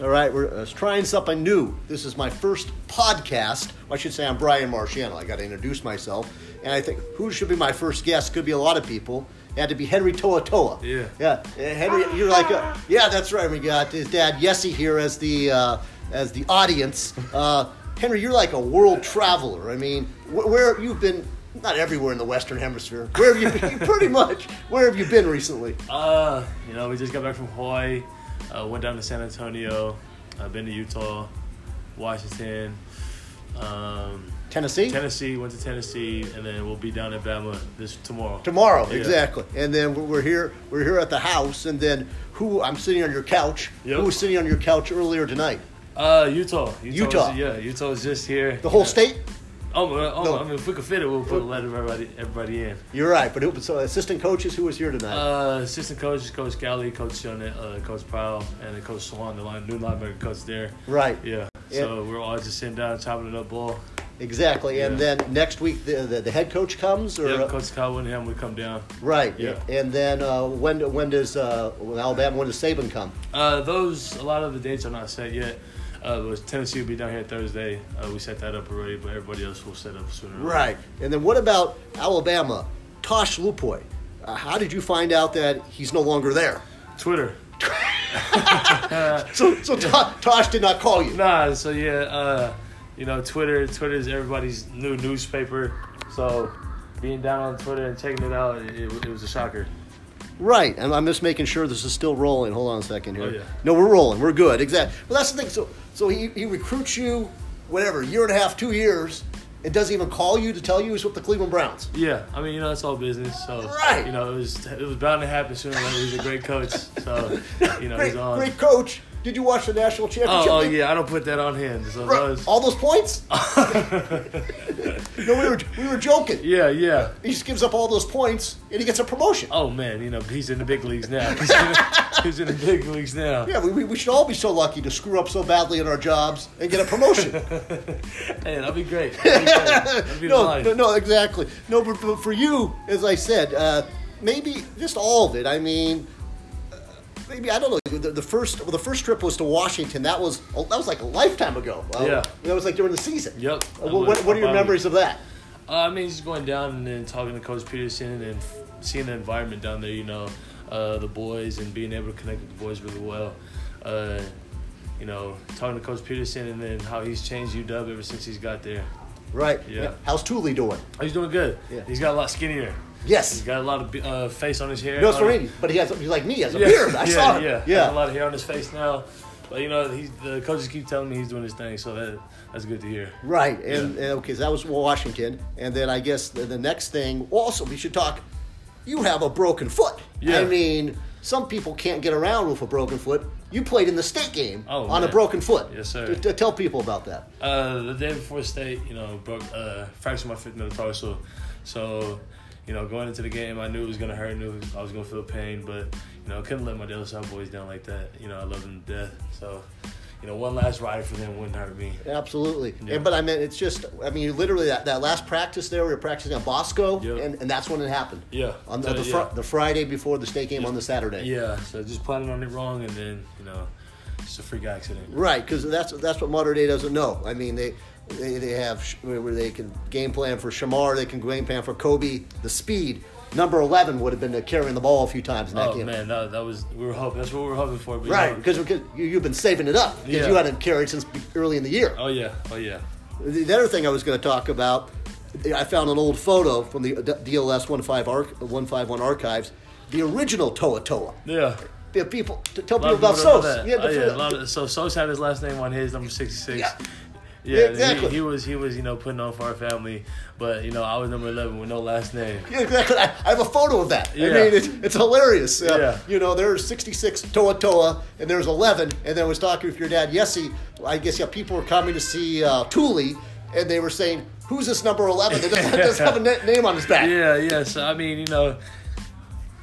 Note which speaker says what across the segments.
Speaker 1: All right, we're uh, trying something new. This is my first podcast. I should say I'm Brian Marciano. I got to introduce myself, and I think who should be my first guest could be a lot of people. It had to be Henry Toa Toa.
Speaker 2: Yeah.
Speaker 1: yeah. Uh, Henry, you're like, uh, yeah, that's right. We got his dad Yessie here as the uh, as the audience. Uh, Henry, you're like a world traveler. I mean, wh- where you've been? Not everywhere in the Western Hemisphere. Where have you been? Pretty much. Where have you been recently?
Speaker 2: Uh, you know, we just got back from Hawaii. Uh, went down to San Antonio. I've been to Utah, Washington, um,
Speaker 1: Tennessee.
Speaker 2: Tennessee. Went to Tennessee, and then we'll be down in Bama this tomorrow.
Speaker 1: Tomorrow,
Speaker 2: Yeah.
Speaker 1: exactly. And then we're- we're here. We're here at the house, and then who? I'm sitting on your couch.
Speaker 2: Yep.
Speaker 1: Who was sitting on your couch earlier tonight?
Speaker 2: Uh, Utah. Utah. is-
Speaker 1: Utah.
Speaker 2: yeah, Utah is just here.
Speaker 1: The whole state.
Speaker 2: Oh, well, oh,
Speaker 1: No.
Speaker 2: I mean, if we could fit it, we'll put let everybody everybody in.
Speaker 1: You're right, but who, so assistant coaches, who was here tonight?
Speaker 2: Uh, assistant coaches, Coach Galley, Coach Jonah, uh, Coach Powell, and then Coach Swan, the line, new linebacker coach there.
Speaker 1: right,
Speaker 2: Yeah. So we're all just sitting down, chopping it up ball.
Speaker 1: exactly. And
Speaker 2: Yeah.
Speaker 1: then next week, the, the, the head coach comes, or
Speaker 2: Yeah,
Speaker 1: uh,
Speaker 2: Coach Kyle Winham would come down.
Speaker 1: right?
Speaker 2: Yeah.
Speaker 1: And then uh, when do- when does uh, when Alabama when does Saban come?
Speaker 2: Uh, those a lot of the dates are not set yet. Uh, but Tennessee will be down here Thursday. Uh, we set that up already, but everybody else will set up sooner. or later.
Speaker 1: Right. And then what about Alabama? Tosh Lupoy. Uh, how did you find out that he's no longer there?
Speaker 2: Twitter.
Speaker 1: So, so To- Tosh did not call you.
Speaker 2: Nah. So yeah, uh, you know, Twitter. Twitter is everybody's new newspaper. So being down on Twitter and checking it out, it, it, was a shocker.
Speaker 1: Right, and I'm just making sure this is still rolling. Hold on a second here.
Speaker 2: Oh, yeah.
Speaker 1: No, we're rolling. We're good. Exactly. Well, that's the thing. So, so he, he recruits you, whatever, year and a half, two years, and doesn't even call you to tell you he's with the Cleveland Browns.
Speaker 2: Yeah. I mean, you know, it's all business. So
Speaker 1: Right.
Speaker 2: you know, it was it was bound to happen sooner or later. He's a great coach. So you know,
Speaker 1: great,
Speaker 2: he's on.
Speaker 1: great coach. Did you watch the national
Speaker 2: Oh,
Speaker 1: championship?
Speaker 2: oh
Speaker 1: game?
Speaker 2: yeah, I don't put that on him. So
Speaker 1: Right.
Speaker 2: those,
Speaker 1: All those points? no, we were we were joking.
Speaker 2: yeah, yeah.
Speaker 1: He just gives up all those points and he gets a promotion.
Speaker 2: Oh man, you know he's in the big leagues now. He's in the, he's in the big leagues now.
Speaker 1: Yeah, we, we- we should all be so lucky to screw up so badly in our jobs and get a promotion.
Speaker 2: Hey, that'd be great. That'd be, great. That'd be
Speaker 1: no,
Speaker 2: nice.
Speaker 1: no, no, exactly. No, but, but for you, as I said, uh, maybe just all of it. I mean, uh, maybe I don't know. The, the first, well, the first trip was to Washington. That was oh, that was like a lifetime ago. Uh,
Speaker 2: Yeah.
Speaker 1: that was like during the season.
Speaker 2: Yep.
Speaker 1: Uh, what, what, what are your memories of that?
Speaker 2: Uh, I mean, just going down and then talking to Coach Peterson and f- seeing the environment down there. You know, uh, the boys and being able to connect with the boys really well. Uh, you know, talking to Coach Peterson and then how he's changed UW ever since he's got there.
Speaker 1: Right.
Speaker 2: Yeah.
Speaker 1: How's Thule doing?
Speaker 2: He's doing good.
Speaker 1: Yeah.
Speaker 2: He's got a lot skinnier. He's
Speaker 1: Yes.
Speaker 2: got a lot of uh, face on his hair.
Speaker 1: No, it's
Speaker 2: A lot of-
Speaker 1: Marine, but he has he's like me. He has a beard. I
Speaker 2: yeah,
Speaker 1: saw him.
Speaker 2: Yeah, Has a
Speaker 1: yeah.
Speaker 2: lot of hair on his face now. But you know, he's, the coaches keep telling me he's doing his thing, so that that's good to hear.
Speaker 1: Right, and, and okay, so that was Washington, and then I guess the, the next thing. Also, we should talk. You have a broken foot.
Speaker 2: Yeah.
Speaker 1: I mean, some people can't get around with a broken foot. You played in the state game
Speaker 2: Oh,
Speaker 1: on a
Speaker 2: man.
Speaker 1: broken foot.
Speaker 2: Yes, sir.
Speaker 1: T- t- tell people about that.
Speaker 2: Uh, the day before state, you know, broke uh, fractured my fifth metatarsal, so you know, going into the game, I knew it was gonna hurt, knew I was gonna feel pain, but you know, couldn't let my Dallas Cowboys down like that. You know, I love them to death, so you know, one last ride for them wouldn't hurt me.
Speaker 1: Absolutely.
Speaker 2: Yeah.
Speaker 1: And, but I mean, it's just, I mean, literally that, that last practice there, we were practicing on Bosco,
Speaker 2: Yeah.
Speaker 1: and, and that's when it happened.
Speaker 2: Yeah.
Speaker 1: On the,
Speaker 2: So,
Speaker 1: the, fr-
Speaker 2: yeah.
Speaker 1: the Friday before the state game on the Saturday.
Speaker 2: Yeah, so just planning on it wrong, and then you know, just a freak accident.
Speaker 1: Right, because that's that's what modern day doesn't know. I mean, they they, they have sh- where where they can game plan for Shamar, they can game plan for Kobe. The speed number eleven would have been uh, carrying the ball a few times in that
Speaker 2: Oh
Speaker 1: game.
Speaker 2: man, that, that was we were hoping. That's what we were hoping for. But, you
Speaker 1: Right,
Speaker 2: know,
Speaker 1: because you, you've been saving it up because
Speaker 2: Yeah.
Speaker 1: you hadn't carried since be- early in the year.
Speaker 2: Oh yeah, oh yeah.
Speaker 1: The the other thing I was going to talk about, I found an old photo from the D- DLS 15 arch- 151 archives, the original Toa Toa.
Speaker 2: Yeah.
Speaker 1: Yeah, People, t- tell
Speaker 2: A lot
Speaker 1: people
Speaker 2: of
Speaker 1: about
Speaker 2: people don't know
Speaker 1: Sos.
Speaker 2: that.
Speaker 1: Yeah,
Speaker 2: oh,
Speaker 1: the-
Speaker 2: yeah. A lot of, so Sos had his last name on his number sixty six.
Speaker 1: Yeah.
Speaker 2: Yeah.
Speaker 1: Yeah,
Speaker 2: he-
Speaker 1: exactly.
Speaker 2: He, was he was you know putting on for our family, but you know I was number eleven with no last name.
Speaker 1: Yeah, exactly. I, I have a photo of that. I
Speaker 2: Yeah.
Speaker 1: mean, it's, it's hilarious. Uh,
Speaker 2: Yeah.
Speaker 1: You know, there are 66 Toa Toa, and there's 11. And then I was talking with your dad, Yessi. I guess, yeah, people were coming to see uh, Thule, and they were saying, Who's this number 11 that doesn't, doesn't have a na- name on his back?
Speaker 2: Yeah, yeah. So I mean you know,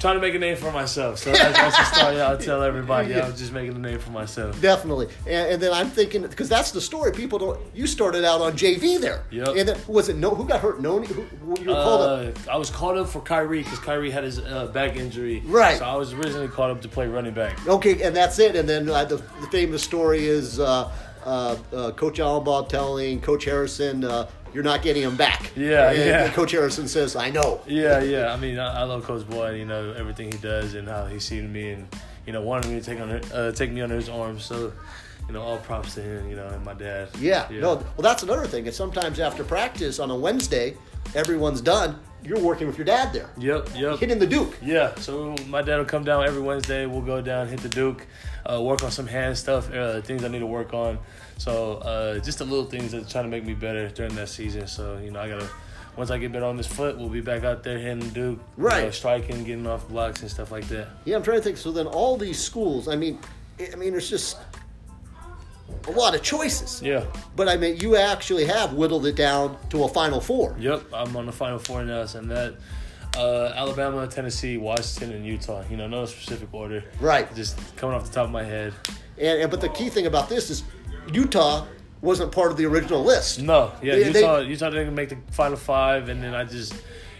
Speaker 2: trying to make a name for myself. So that's, that's the story I'll tell everybody. I was just making a name for myself.
Speaker 1: Definitely. And, and then I'm thinking because that's the story. People don't. You started out on JV there.
Speaker 2: Yep.
Speaker 1: And then was it no? Who got hurt? No. Who, who- you were called up.
Speaker 2: Uh, I was called up for Kyrie because Kyrie had his uh, back injury.
Speaker 1: Right.
Speaker 2: So I was originally called up to play running back.
Speaker 1: Okay, and that's it. And then uh, the, the famous story is uh, uh, uh, Coach Allenbaugh telling Coach Harrison, uh, "You're not getting him back."
Speaker 2: Yeah,
Speaker 1: and,
Speaker 2: yeah.
Speaker 1: and Coach Harrison says, "I know."
Speaker 2: Yeah, yeah. I mean, I, I love Coach Boyd. You know everything he does and how he seen me and you know wanted me to take on uh, take me under his arm. So, you know, all props to him. You know, and my dad.
Speaker 1: Yeah, No. Well, that's another thing. Is sometimes after practice on a Wednesday, everyone's done. You're working with your dad there,
Speaker 2: Yep. Yep.
Speaker 1: hitting the Duke.
Speaker 2: Yeah, so my dad will come down every Wednesday. We'll go down, hit the Duke, uh, work on some hand stuff, uh, things I need to work on. So uh, just the little things that trying to make me better during that season. So you know, I gotta once I get better on this foot, we'll be back out there hitting the Duke, you
Speaker 1: Right.
Speaker 2: know, striking, getting off blocks and stuff like that.
Speaker 1: Yeah, I'm trying to think. So then all these schools. I mean, I mean, there's just a lot of choices.
Speaker 2: Yeah.
Speaker 1: But I mean, you actually have whittled it down to a Final Four.
Speaker 2: Yep, I'm on the Final Four now, and that uh, Alabama, Tennessee, Washington, and Utah. You know, no specific order.
Speaker 1: Right.
Speaker 2: Just coming off the top of my head.
Speaker 1: And, and but the key thing about this is Utah wasn't part of the original list.
Speaker 2: No, yeah,
Speaker 1: They- they-
Speaker 2: Utah. Utah didn't make the final five, and then I just,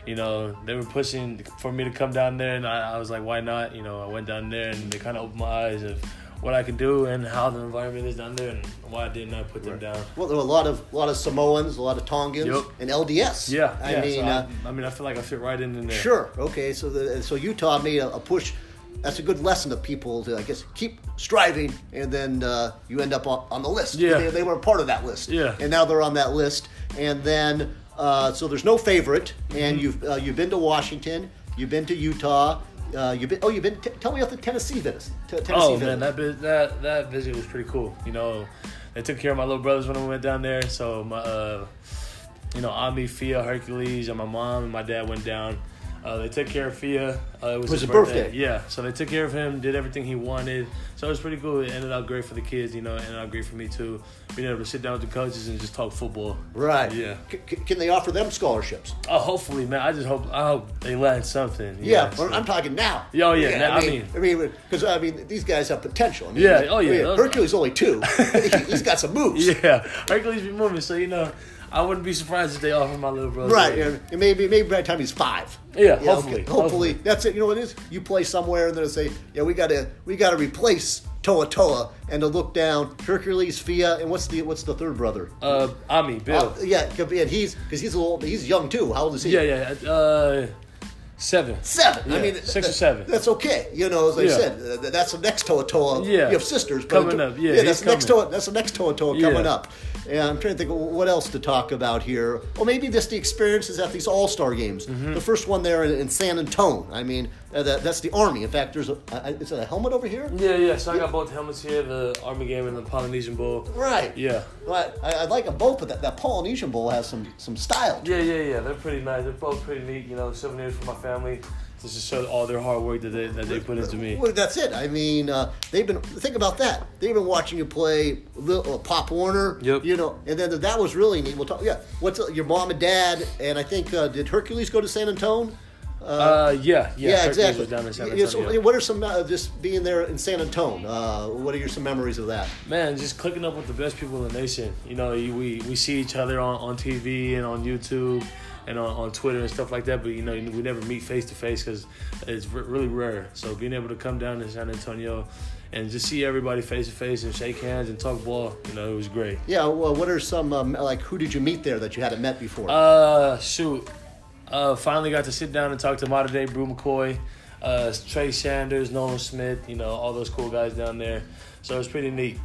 Speaker 2: you know, they were pushing for me to come down there, and I, I was like, why not? You know, I went down there, and they kind of opened my eyes of what I can do and how the environment is down there, and why I did not put them down.
Speaker 1: Well, there were a lot of lot of Samoans, a lot of Tongans,
Speaker 2: Yep.
Speaker 1: and LDS.
Speaker 2: Yeah,
Speaker 1: I
Speaker 2: yeah, so
Speaker 1: mean, uh,
Speaker 2: I, I mean, I feel like I fit right in, in there.
Speaker 1: sure, okay. So the, so Utah made a, a push. That's a good lesson to people to, I guess, keep striving, and then uh, you end up on, on the list.
Speaker 2: Yeah.
Speaker 1: they, they were part of that list.
Speaker 2: Yeah.
Speaker 1: and now they're on that list. And then uh, so there's no favorite,
Speaker 2: Mm-hmm.
Speaker 1: and you've uh, you've been to Washington, you've been to Utah, uh, you've been oh you've been t- tell me about the Tennessee visit. T- Tennessee
Speaker 2: Oh
Speaker 1: visit.
Speaker 2: man, that vi- that that visit was pretty cool. You know, they took care of my little brothers when I went down there. So my, uh, you know, Ami, Fia, Hercules, and my mom and my dad went down. Uh, they took care of Fia. Uh, it was,
Speaker 1: Was his birthday.
Speaker 2: Yeah, so they took care of him, did everything he wanted. So it was pretty cool. It ended out great for the kids. You know, it ended out great for me too. Being able to sit down with the coaches and just talk football.
Speaker 1: Right.
Speaker 2: Yeah.
Speaker 1: C- c- can they offer them scholarships?
Speaker 2: Oh, hopefully, man. I just hope I hope they learn something. you
Speaker 1: Yeah,
Speaker 2: know,
Speaker 1: but
Speaker 2: so-
Speaker 1: I'm talking now.
Speaker 2: Yeah, oh, yeah, now, I mean-
Speaker 1: I mean, because I mean, these guys have potential. I mean,
Speaker 2: Yeah, oh, yeah,
Speaker 1: I mean,
Speaker 2: those-
Speaker 1: Hercules only two. He- He's got some moves.
Speaker 2: yeah, Hercules be moving. So you know, I wouldn't be surprised if they offer my little brother.
Speaker 1: Right, and and maybe maybe by the time he's five.
Speaker 2: Yeah,
Speaker 1: okay.
Speaker 2: hopefully,
Speaker 1: hopefully,
Speaker 2: hopefully.
Speaker 1: that's it. You know what it is? You play somewhere, and they'll say, "Yeah, we gotta we gotta replace Toa Toa," and to look down Hercules, Fia, and what's the what's the third brother?
Speaker 2: Uh, Ami, Bill.
Speaker 1: Uh, yeah, could be- and he's because he's a little he's young too. How old is he?
Speaker 2: yeah, yeah. Uh, seven.
Speaker 1: Seven. I
Speaker 2: Yeah,
Speaker 1: mean,
Speaker 2: six
Speaker 1: th-
Speaker 2: or seven.
Speaker 1: That's okay. You know, as I
Speaker 2: Yeah.
Speaker 1: said, th- th- that's the next Toa Toa.
Speaker 2: Yeah.
Speaker 1: you have sisters but
Speaker 2: Coming
Speaker 1: it-
Speaker 2: up. Yeah, he's
Speaker 1: that's the next
Speaker 2: coming.
Speaker 1: Toa. That's the next Toa Toa
Speaker 2: Yeah.
Speaker 1: coming up. Yeah, I'm trying to think of what else to talk about here. Well, maybe just the experiences at these All Star games.
Speaker 2: Mm-hmm.
Speaker 1: The first one there in, in San Antone. I mean, uh, that, that's the Army. In fact, there's a I- I- is it a helmet over here?
Speaker 2: Yeah, yeah. So I got both helmets here: the Army game and the Polynesian Bowl.
Speaker 1: Right.
Speaker 2: Yeah.
Speaker 1: Well, I, I like them both, but that, that Polynesian Bowl has some some style.
Speaker 2: Yeah, yeah, yeah. They're pretty nice. They're both pretty neat. You know, souvenirs for my family. Just to show all their hard work that they that they put into me.
Speaker 1: Well, that's it. I mean, uh, they've been think about that. They've been watching you play little, uh, Pop Warner.
Speaker 2: Yep.
Speaker 1: You know, and then that was really neat. We'll talk. Yeah. What's uh, your mom and dad? And I think uh, did Hercules go to San Antone?
Speaker 2: Uh, yeah, yeah. Hercules
Speaker 1: exactly.
Speaker 2: Was down in San
Speaker 1: Yeah, so
Speaker 2: Antonio.
Speaker 1: What are some uh, just being there in San Antone? Uh, what are your some memories of that?
Speaker 2: Man, just clicking up with the best people in the nation. You know, you, we, we see each other on, on TV and on YouTube and on, on Twitter and stuff like that, but you know, we never meet face to face because it's r- really rare. So being able to come down to San Antonio and just see everybody face to face and shake hands and talk ball, you know, it was great.
Speaker 1: Yeah. Well, what are some um, like who did you meet there that you hadn't met before?
Speaker 2: Uh, shoot. Uh, finally got to sit down and talk to modern day Brew McCoy, uh, Trey Sanders, Nolan Smith, you know, all those cool guys down there. So it was pretty neat.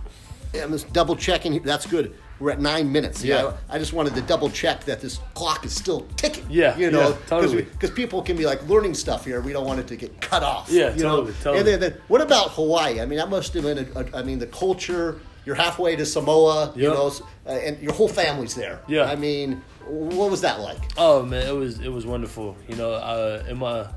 Speaker 1: I'm just double checking. here. That's good. We're at nine minutes. Yeah.
Speaker 2: Yeah.
Speaker 1: I, I just wanted to double check that this clock is still ticking.
Speaker 2: Yeah,
Speaker 1: You know,
Speaker 2: yeah, totally.
Speaker 1: Because people can be like learning stuff here. We don't want it to get cut off.
Speaker 2: Yeah,
Speaker 1: you
Speaker 2: totally,
Speaker 1: know?
Speaker 2: totally.
Speaker 1: And then, then what about Hawaii? I mean, that must have been, a, a, I mean, the culture. You're halfway to Samoa, you
Speaker 2: Yep.
Speaker 1: know, s- uh, and your whole family's there.
Speaker 2: Yeah.
Speaker 1: I mean, what was that like?
Speaker 2: Oh man, it was it was wonderful. You know, uh, in my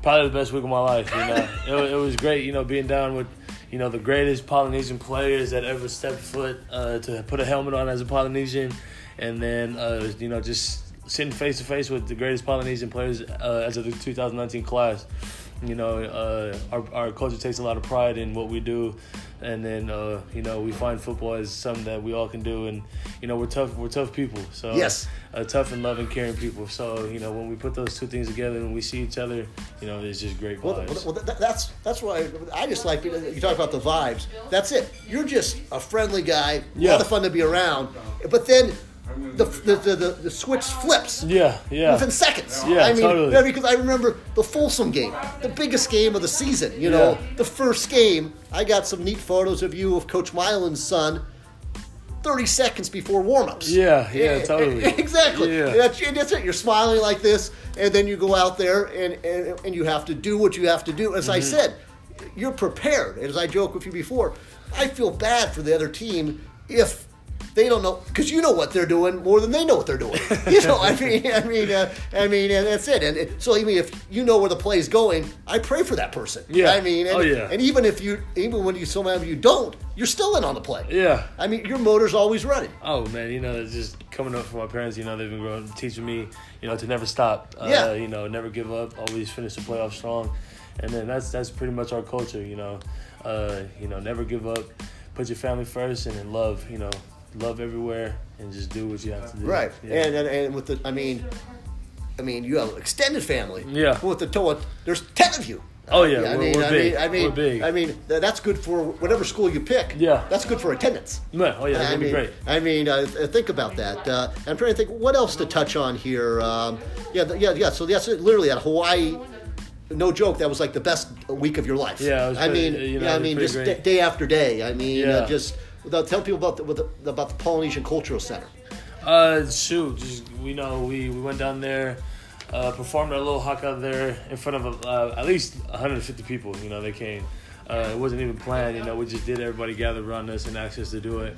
Speaker 2: probably the best week of my life. You know, it, wa- it was great. You know, being down with you know the greatest Polynesian players that ever stepped foot uh, to put a helmet on as a Polynesian, and then uh, you know just sitting face to face with the greatest Polynesian players uh, as of the 2019 class. You know, uh, our, our culture takes a lot of pride in what we do, and then uh, you know we find football as something that we all can do, and you know we're tough we're tough people. So
Speaker 1: Yes.
Speaker 2: uh, tough and loving, caring people. So you know when we put those two things together and we see each other, you know it's just great vibes.
Speaker 1: Well, th- well, th- that's that's why I just like you talk about the vibes. That's it. You're just a friendly guy, a lot
Speaker 2: Yeah.
Speaker 1: of fun to be around. But then the the, the, the, the switch flips
Speaker 2: yeah, yeah.
Speaker 1: within seconds.
Speaker 2: Yeah,
Speaker 1: I mean,
Speaker 2: totally.
Speaker 1: yeah, because I remember the Folsom game, the biggest game of the season. You know,
Speaker 2: Yeah.
Speaker 1: the first game. I got some neat photos of you of Coach Mylan's son. Thirty seconds before warmups.
Speaker 2: Yeah, yeah, totally.
Speaker 1: exactly.
Speaker 2: Yeah.
Speaker 1: That's, and that's it. You're smiling like this, and then you go out there and, and, and you have to do what you have to do. As I
Speaker 2: Mm-hmm.
Speaker 1: said, you're prepared. As I joked with you before, I feel bad for the other team if they don't know because you know what they're doing more than they know what they're doing. you know, I mean, I mean, uh, I mean, and that's it. And it, so, I mean, if you know where the play's going, I pray for that person.
Speaker 2: Yeah.
Speaker 1: I mean, and,
Speaker 2: Oh, yeah.
Speaker 1: and even if you, even when you sometimes you don't, you're still in on the play.
Speaker 2: Yeah.
Speaker 1: I mean, your motor's always running.
Speaker 2: Oh man, you know, it's just coming up from my parents. You know, they've been growing, teaching me, you know, to never stop. Uh,
Speaker 1: Yeah.
Speaker 2: You know, never give up. Always finish the playoff strong, and then that's that's pretty much our culture. You know, uh, you know, never give up. Put your family first, and then love. You know, love everywhere, and just do what you have to do.
Speaker 1: Right.
Speaker 2: Yeah.
Speaker 1: And, and and with the I mean I mean you have an extended family.
Speaker 2: Yeah.
Speaker 1: With the toa there's ten of you.
Speaker 2: Oh, yeah,
Speaker 1: I
Speaker 2: we're-
Speaker 1: mean,
Speaker 2: we're
Speaker 1: I
Speaker 2: big.
Speaker 1: mean, I mean,
Speaker 2: We're big.
Speaker 1: I mean, th- that's good for whatever school you pick.
Speaker 2: Yeah.
Speaker 1: that's good for attendance.
Speaker 2: Man, oh yeah,
Speaker 1: I
Speaker 2: that'd be
Speaker 1: mean,
Speaker 2: great.
Speaker 1: I mean, uh, th- think about that. Uh, I'm trying to think what else to touch on here. Um, yeah, th- yeah, yeah. So that's it, literally at Hawaii. No joke, that was like the best week of your life.
Speaker 2: Yeah, it was
Speaker 1: I
Speaker 2: pretty-
Speaker 1: mean,
Speaker 2: you know,
Speaker 1: yeah, I
Speaker 2: it was
Speaker 1: mean,
Speaker 2: pretty
Speaker 1: just
Speaker 2: great.
Speaker 1: d- day after day. I mean, uh,
Speaker 2: Yeah.
Speaker 1: just without, tell people about the, with the, about the Polynesian Cultural Center.
Speaker 2: Uh, shoot, just we know we, we went down there, uh, performed our little haka there in front of uh, at least 150 people. You know, they came. Uh, it wasn't even planned. You know, we just did everybody gathered around us and asked us to do it.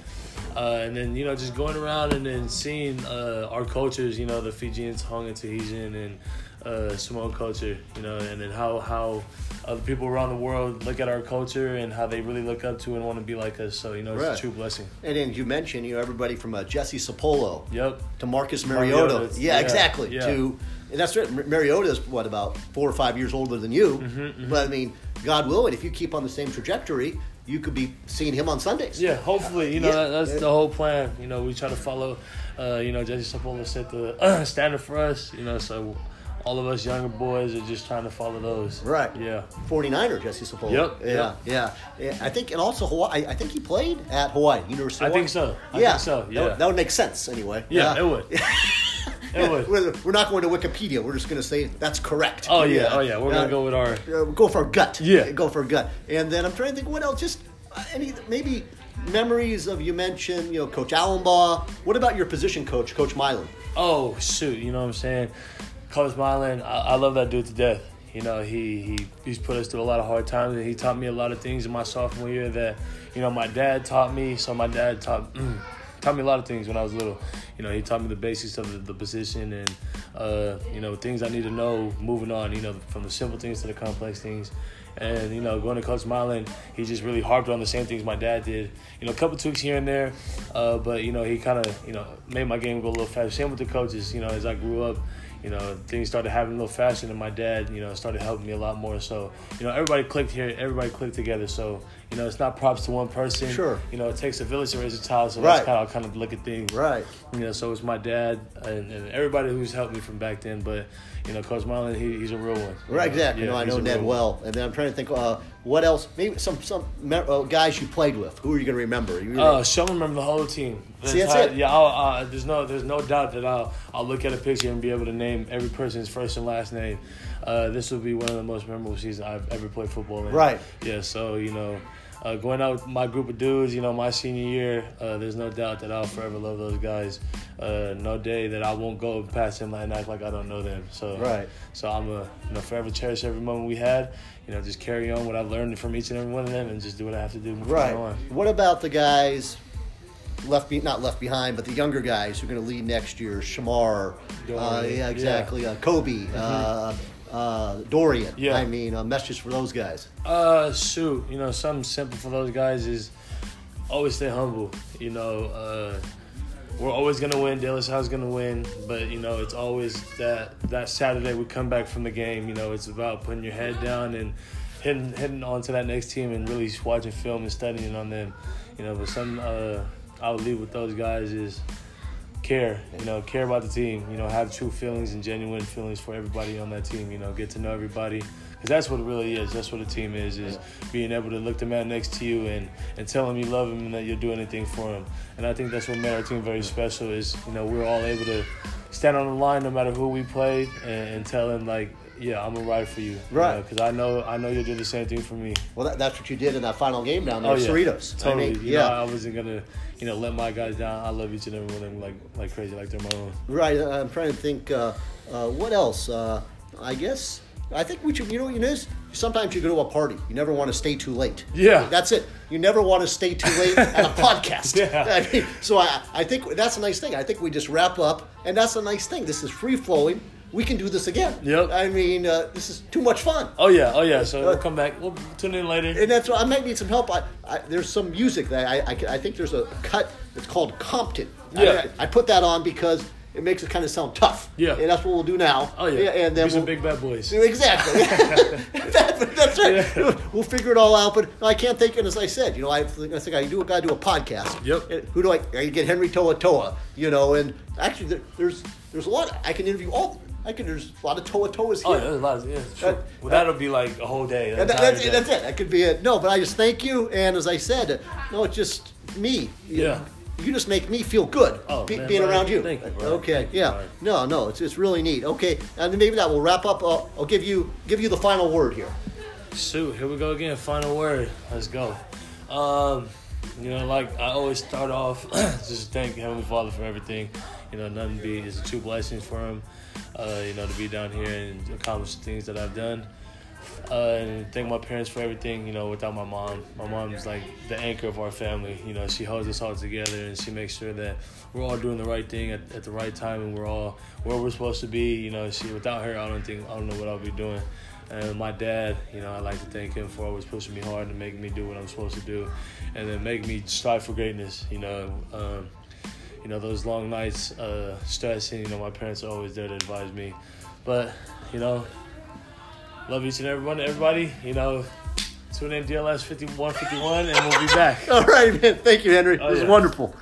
Speaker 2: Uh, and then you know, just going around and then seeing uh, our cultures. You know, the Fijians, Hong and Tahitian, and uh, Samoan culture. You know, and then how how other people around the world look at our culture and how they really look up to and want to be like us. So you know, it's
Speaker 1: Right.
Speaker 2: a true blessing.
Speaker 1: And then you mentioned, you know, everybody from uh, Jesse Sapolo
Speaker 2: Yep.
Speaker 1: to Marcus
Speaker 2: Mariota,
Speaker 1: Mariota.
Speaker 2: it's-
Speaker 1: Yeah,
Speaker 2: yeah,
Speaker 1: exactly.
Speaker 2: yeah.
Speaker 1: To and that's right. Mar- Mariota's what about four or five years older than you?
Speaker 2: Mm-hmm,
Speaker 1: But I mean, God willing, if you keep on the same trajectory, you could be seeing him on Sundays.
Speaker 2: Yeah, hopefully, you know
Speaker 1: Yeah.
Speaker 2: that, that's the whole plan. You know, we try to follow. Uh, you know, Jesse Sapola set the uh, standard for us. You know, so all of us younger boys are just trying to follow those.
Speaker 1: Right.
Speaker 2: Yeah.
Speaker 1: 49er Jesse Sapolo.
Speaker 2: Yep,
Speaker 1: Yeah,
Speaker 2: yep.
Speaker 1: yeah. Yeah, I think, and also Hawaii. I think he played at Hawaii University.
Speaker 2: I
Speaker 1: of Hawaii.
Speaker 2: think so. I
Speaker 1: yeah.
Speaker 2: think so.
Speaker 1: That
Speaker 2: Yeah.
Speaker 1: would- That, would make sense anyway.
Speaker 2: yeah, It would. it would.
Speaker 1: We're, we're not going to Wikipedia. We're just going to say that's correct.
Speaker 2: Oh yeah. Oh yeah. We're
Speaker 1: Uh,
Speaker 2: gonna go with our.
Speaker 1: uh, go for a gut.
Speaker 2: Yeah.
Speaker 1: go for a gut. And then I'm trying to think what else. Just uh, any maybe memories of you mentioned. You know, Coach Allenbaugh. What about your position coach, Coach Milan?
Speaker 2: Oh shoot. You know what I'm saying? Coach Milan, I, I love that dude to death. You know, he, he he's put us through a lot of hard times, and he taught me a lot of things in my sophomore year that, you know, my dad taught me. So my dad taught taught me a lot of things when I was little. You know, he taught me the basics of the, the position and, uh, you know, things I need to know moving on. You know, from the simple things to the complex things. And you know, going to Coach Milan, he just really harped on the same things my dad did. You know, a couple tweaks here and there, uh, but you know, he kind of you know made my game go a little faster. Same with the coaches. You know, as I grew up, you know, things started happening a little faster, and my dad, you know, started helping me a lot more. So, you know, everybody clicked here, everybody clicked together. So, you know, it's not props to one person.
Speaker 1: Sure.
Speaker 2: You know, it takes a village to raise a child. So
Speaker 1: Right.
Speaker 2: that's how I kind of look at things.
Speaker 1: Right.
Speaker 2: You know, so it's my dad and, and everybody who's helped me from back then. But, you know, Coach Marlon, he, he's a real one.
Speaker 1: Right, exactly.
Speaker 2: Yeah,
Speaker 1: no, I
Speaker 2: he's
Speaker 1: know
Speaker 2: a
Speaker 1: Ned
Speaker 2: real one.
Speaker 1: well, and then I'm trying to think uh, what else. Maybe some some me- uh, guys you played with. Who are you going to remember? You-
Speaker 2: Uh, Sean remember the whole team. The
Speaker 1: See, that's
Speaker 2: entire-
Speaker 1: it.
Speaker 2: Yeah, I'll, uh, there's no, there's no doubt that I'll, I'll look at a picture and be able to name every person's first and last name. Uh, this will be one of the most memorable seasons I've ever played football in.
Speaker 1: Right.
Speaker 2: Yeah. So you know, uh, going out with my group of dudes, you know, my senior year, uh, there's no doubt that I'll forever love those guys. Uh, no day that I won't go past them and act like I don't know them. So
Speaker 1: Right.
Speaker 2: So I'm a, you know, forever cherish every moment we had. You know, just carry on what I learned from each and every one of them, and just do what I have to do. from
Speaker 1: right.
Speaker 2: now on.
Speaker 1: What about the guys? Left be- not left behind, but the younger guys who are going to lead next year, Shamar, uh,
Speaker 2: Dorian,
Speaker 1: yeah,
Speaker 2: yeah. Mm-hmm.
Speaker 1: exactly, Uh, Kobe, uh, uh, Dorian.
Speaker 2: Yeah.
Speaker 1: I mean, uh, messages for those guys.
Speaker 2: Uh, shoot, you know, something simple for those guys is always stay humble. You know, uh, we're always gonna win. De La Salle's gonna win, but you know it's always that that Saturday we come back from the game. You know it's about putting your head down and hitting hitting on to that next team and really watching film and studying on them. You know, but some uh, I would leave with those guys is care. You know, care about the team. You know, have true feelings and genuine feelings for everybody on that team. You know, get to know everybody. Cause that's what it really is. That's what a team is: is being able to look the man next to you and, and tell him you love him and that you'll do anything for him. And I think that's what made our team very special. Is you know we're all able to stand on the line no matter who we played and, and tell him like, yeah, I'm gonna ride for you.
Speaker 1: Right.
Speaker 2: Because I know I know you'll do the same thing for me.
Speaker 1: Well, that, that's what you did in that final game down there, at Cerritos. I
Speaker 2: Oh, Totally.
Speaker 1: mean,
Speaker 2: You know, I wasn't gonna, you know, let my guys down. I love each and every one of them like like crazy, like they're my own.
Speaker 1: Right. uh, I'm trying to think. Uh, uh, what else? Uh, I guess. I think we should. You know what it is. Sometimes you go to a party. You never want to stay too late.
Speaker 2: Yeah.
Speaker 1: That's it. You never want to stay too late at a podcast.
Speaker 2: Yeah.
Speaker 1: I mean, so I, I think that's a nice thing. I think we just wrap up, and that's a nice thing. This is free flowing. We can do this again.
Speaker 2: Yep.
Speaker 1: I mean, uh, this is too much fun.
Speaker 2: Oh yeah, oh yeah. So we'll come back. We'll tune in later.
Speaker 1: And that's why I might need some help. I, I there's some music that I, I, I think there's a cut that's called Compton. I-
Speaker 2: Yeah.
Speaker 1: I, I put that on because it makes it kind of sound tough.
Speaker 2: Yeah.
Speaker 1: And that's what we'll do now.
Speaker 2: Oh yeah.
Speaker 1: and then
Speaker 2: These are
Speaker 1: we'll,
Speaker 2: big bad boys.
Speaker 1: Exactly. That- that's right.
Speaker 2: Yeah.
Speaker 1: We'll figure it all out. But I can't think. And as I said, you know, I think I, think I do. Got to do a podcast.
Speaker 2: Yep.
Speaker 1: And who do I? I get Henry Toa Toa. You know, and actually, there, there's there's a lot. I can interview all. I can. There's a lot of Toa Toas here.
Speaker 2: Oh yeah, there's lots. Yeah, sure.
Speaker 1: That-
Speaker 2: well, that'll be like a whole day.
Speaker 1: And that,
Speaker 2: entire
Speaker 1: that's,
Speaker 2: day.
Speaker 1: it, that's it. That could be it. No, but I just thank you. And as I said, no, it's just me. You-
Speaker 2: Yeah.
Speaker 1: You just make me feel good
Speaker 2: Oh,
Speaker 1: be-
Speaker 2: man,
Speaker 1: being
Speaker 2: brother.
Speaker 1: around you.
Speaker 2: Thank you, brother.
Speaker 1: okay.
Speaker 2: Thank you,
Speaker 1: yeah.
Speaker 2: brother.
Speaker 1: no, no, it's, it's really neat. Okay, and then maybe that will wrap up. Uh, I'll give you give you the final word here.
Speaker 2: Shoot, here we go again. Final word. Let's go. Um, you know, like I always start off, just thank Heavenly Father for everything. You know, nothing be is a true blessing for him. Uh, you know, to be down here and accomplish the things that I've done. Uh, and thank my parents for everything. You know, without my mom, my mom is like the anchor of our family. You know, she holds us all together and she makes sure that we're all doing the right thing at, at the right time and we're all where we're supposed to be. You know, she without her, I don't think I don't know what I'll be doing. And my dad, you know, I like to thank him for always pushing me hard and making me do what I'm supposed to do, and then make me strive for greatness. You know. Um, you know those long nights uh stressing you know my parents are always there to advise me but you know love each and every one everybody you know tune in dls 5151 and we'll be back
Speaker 1: All right, man. Thank you, Henry. It was
Speaker 2: Oh, yeah.
Speaker 1: wonderful.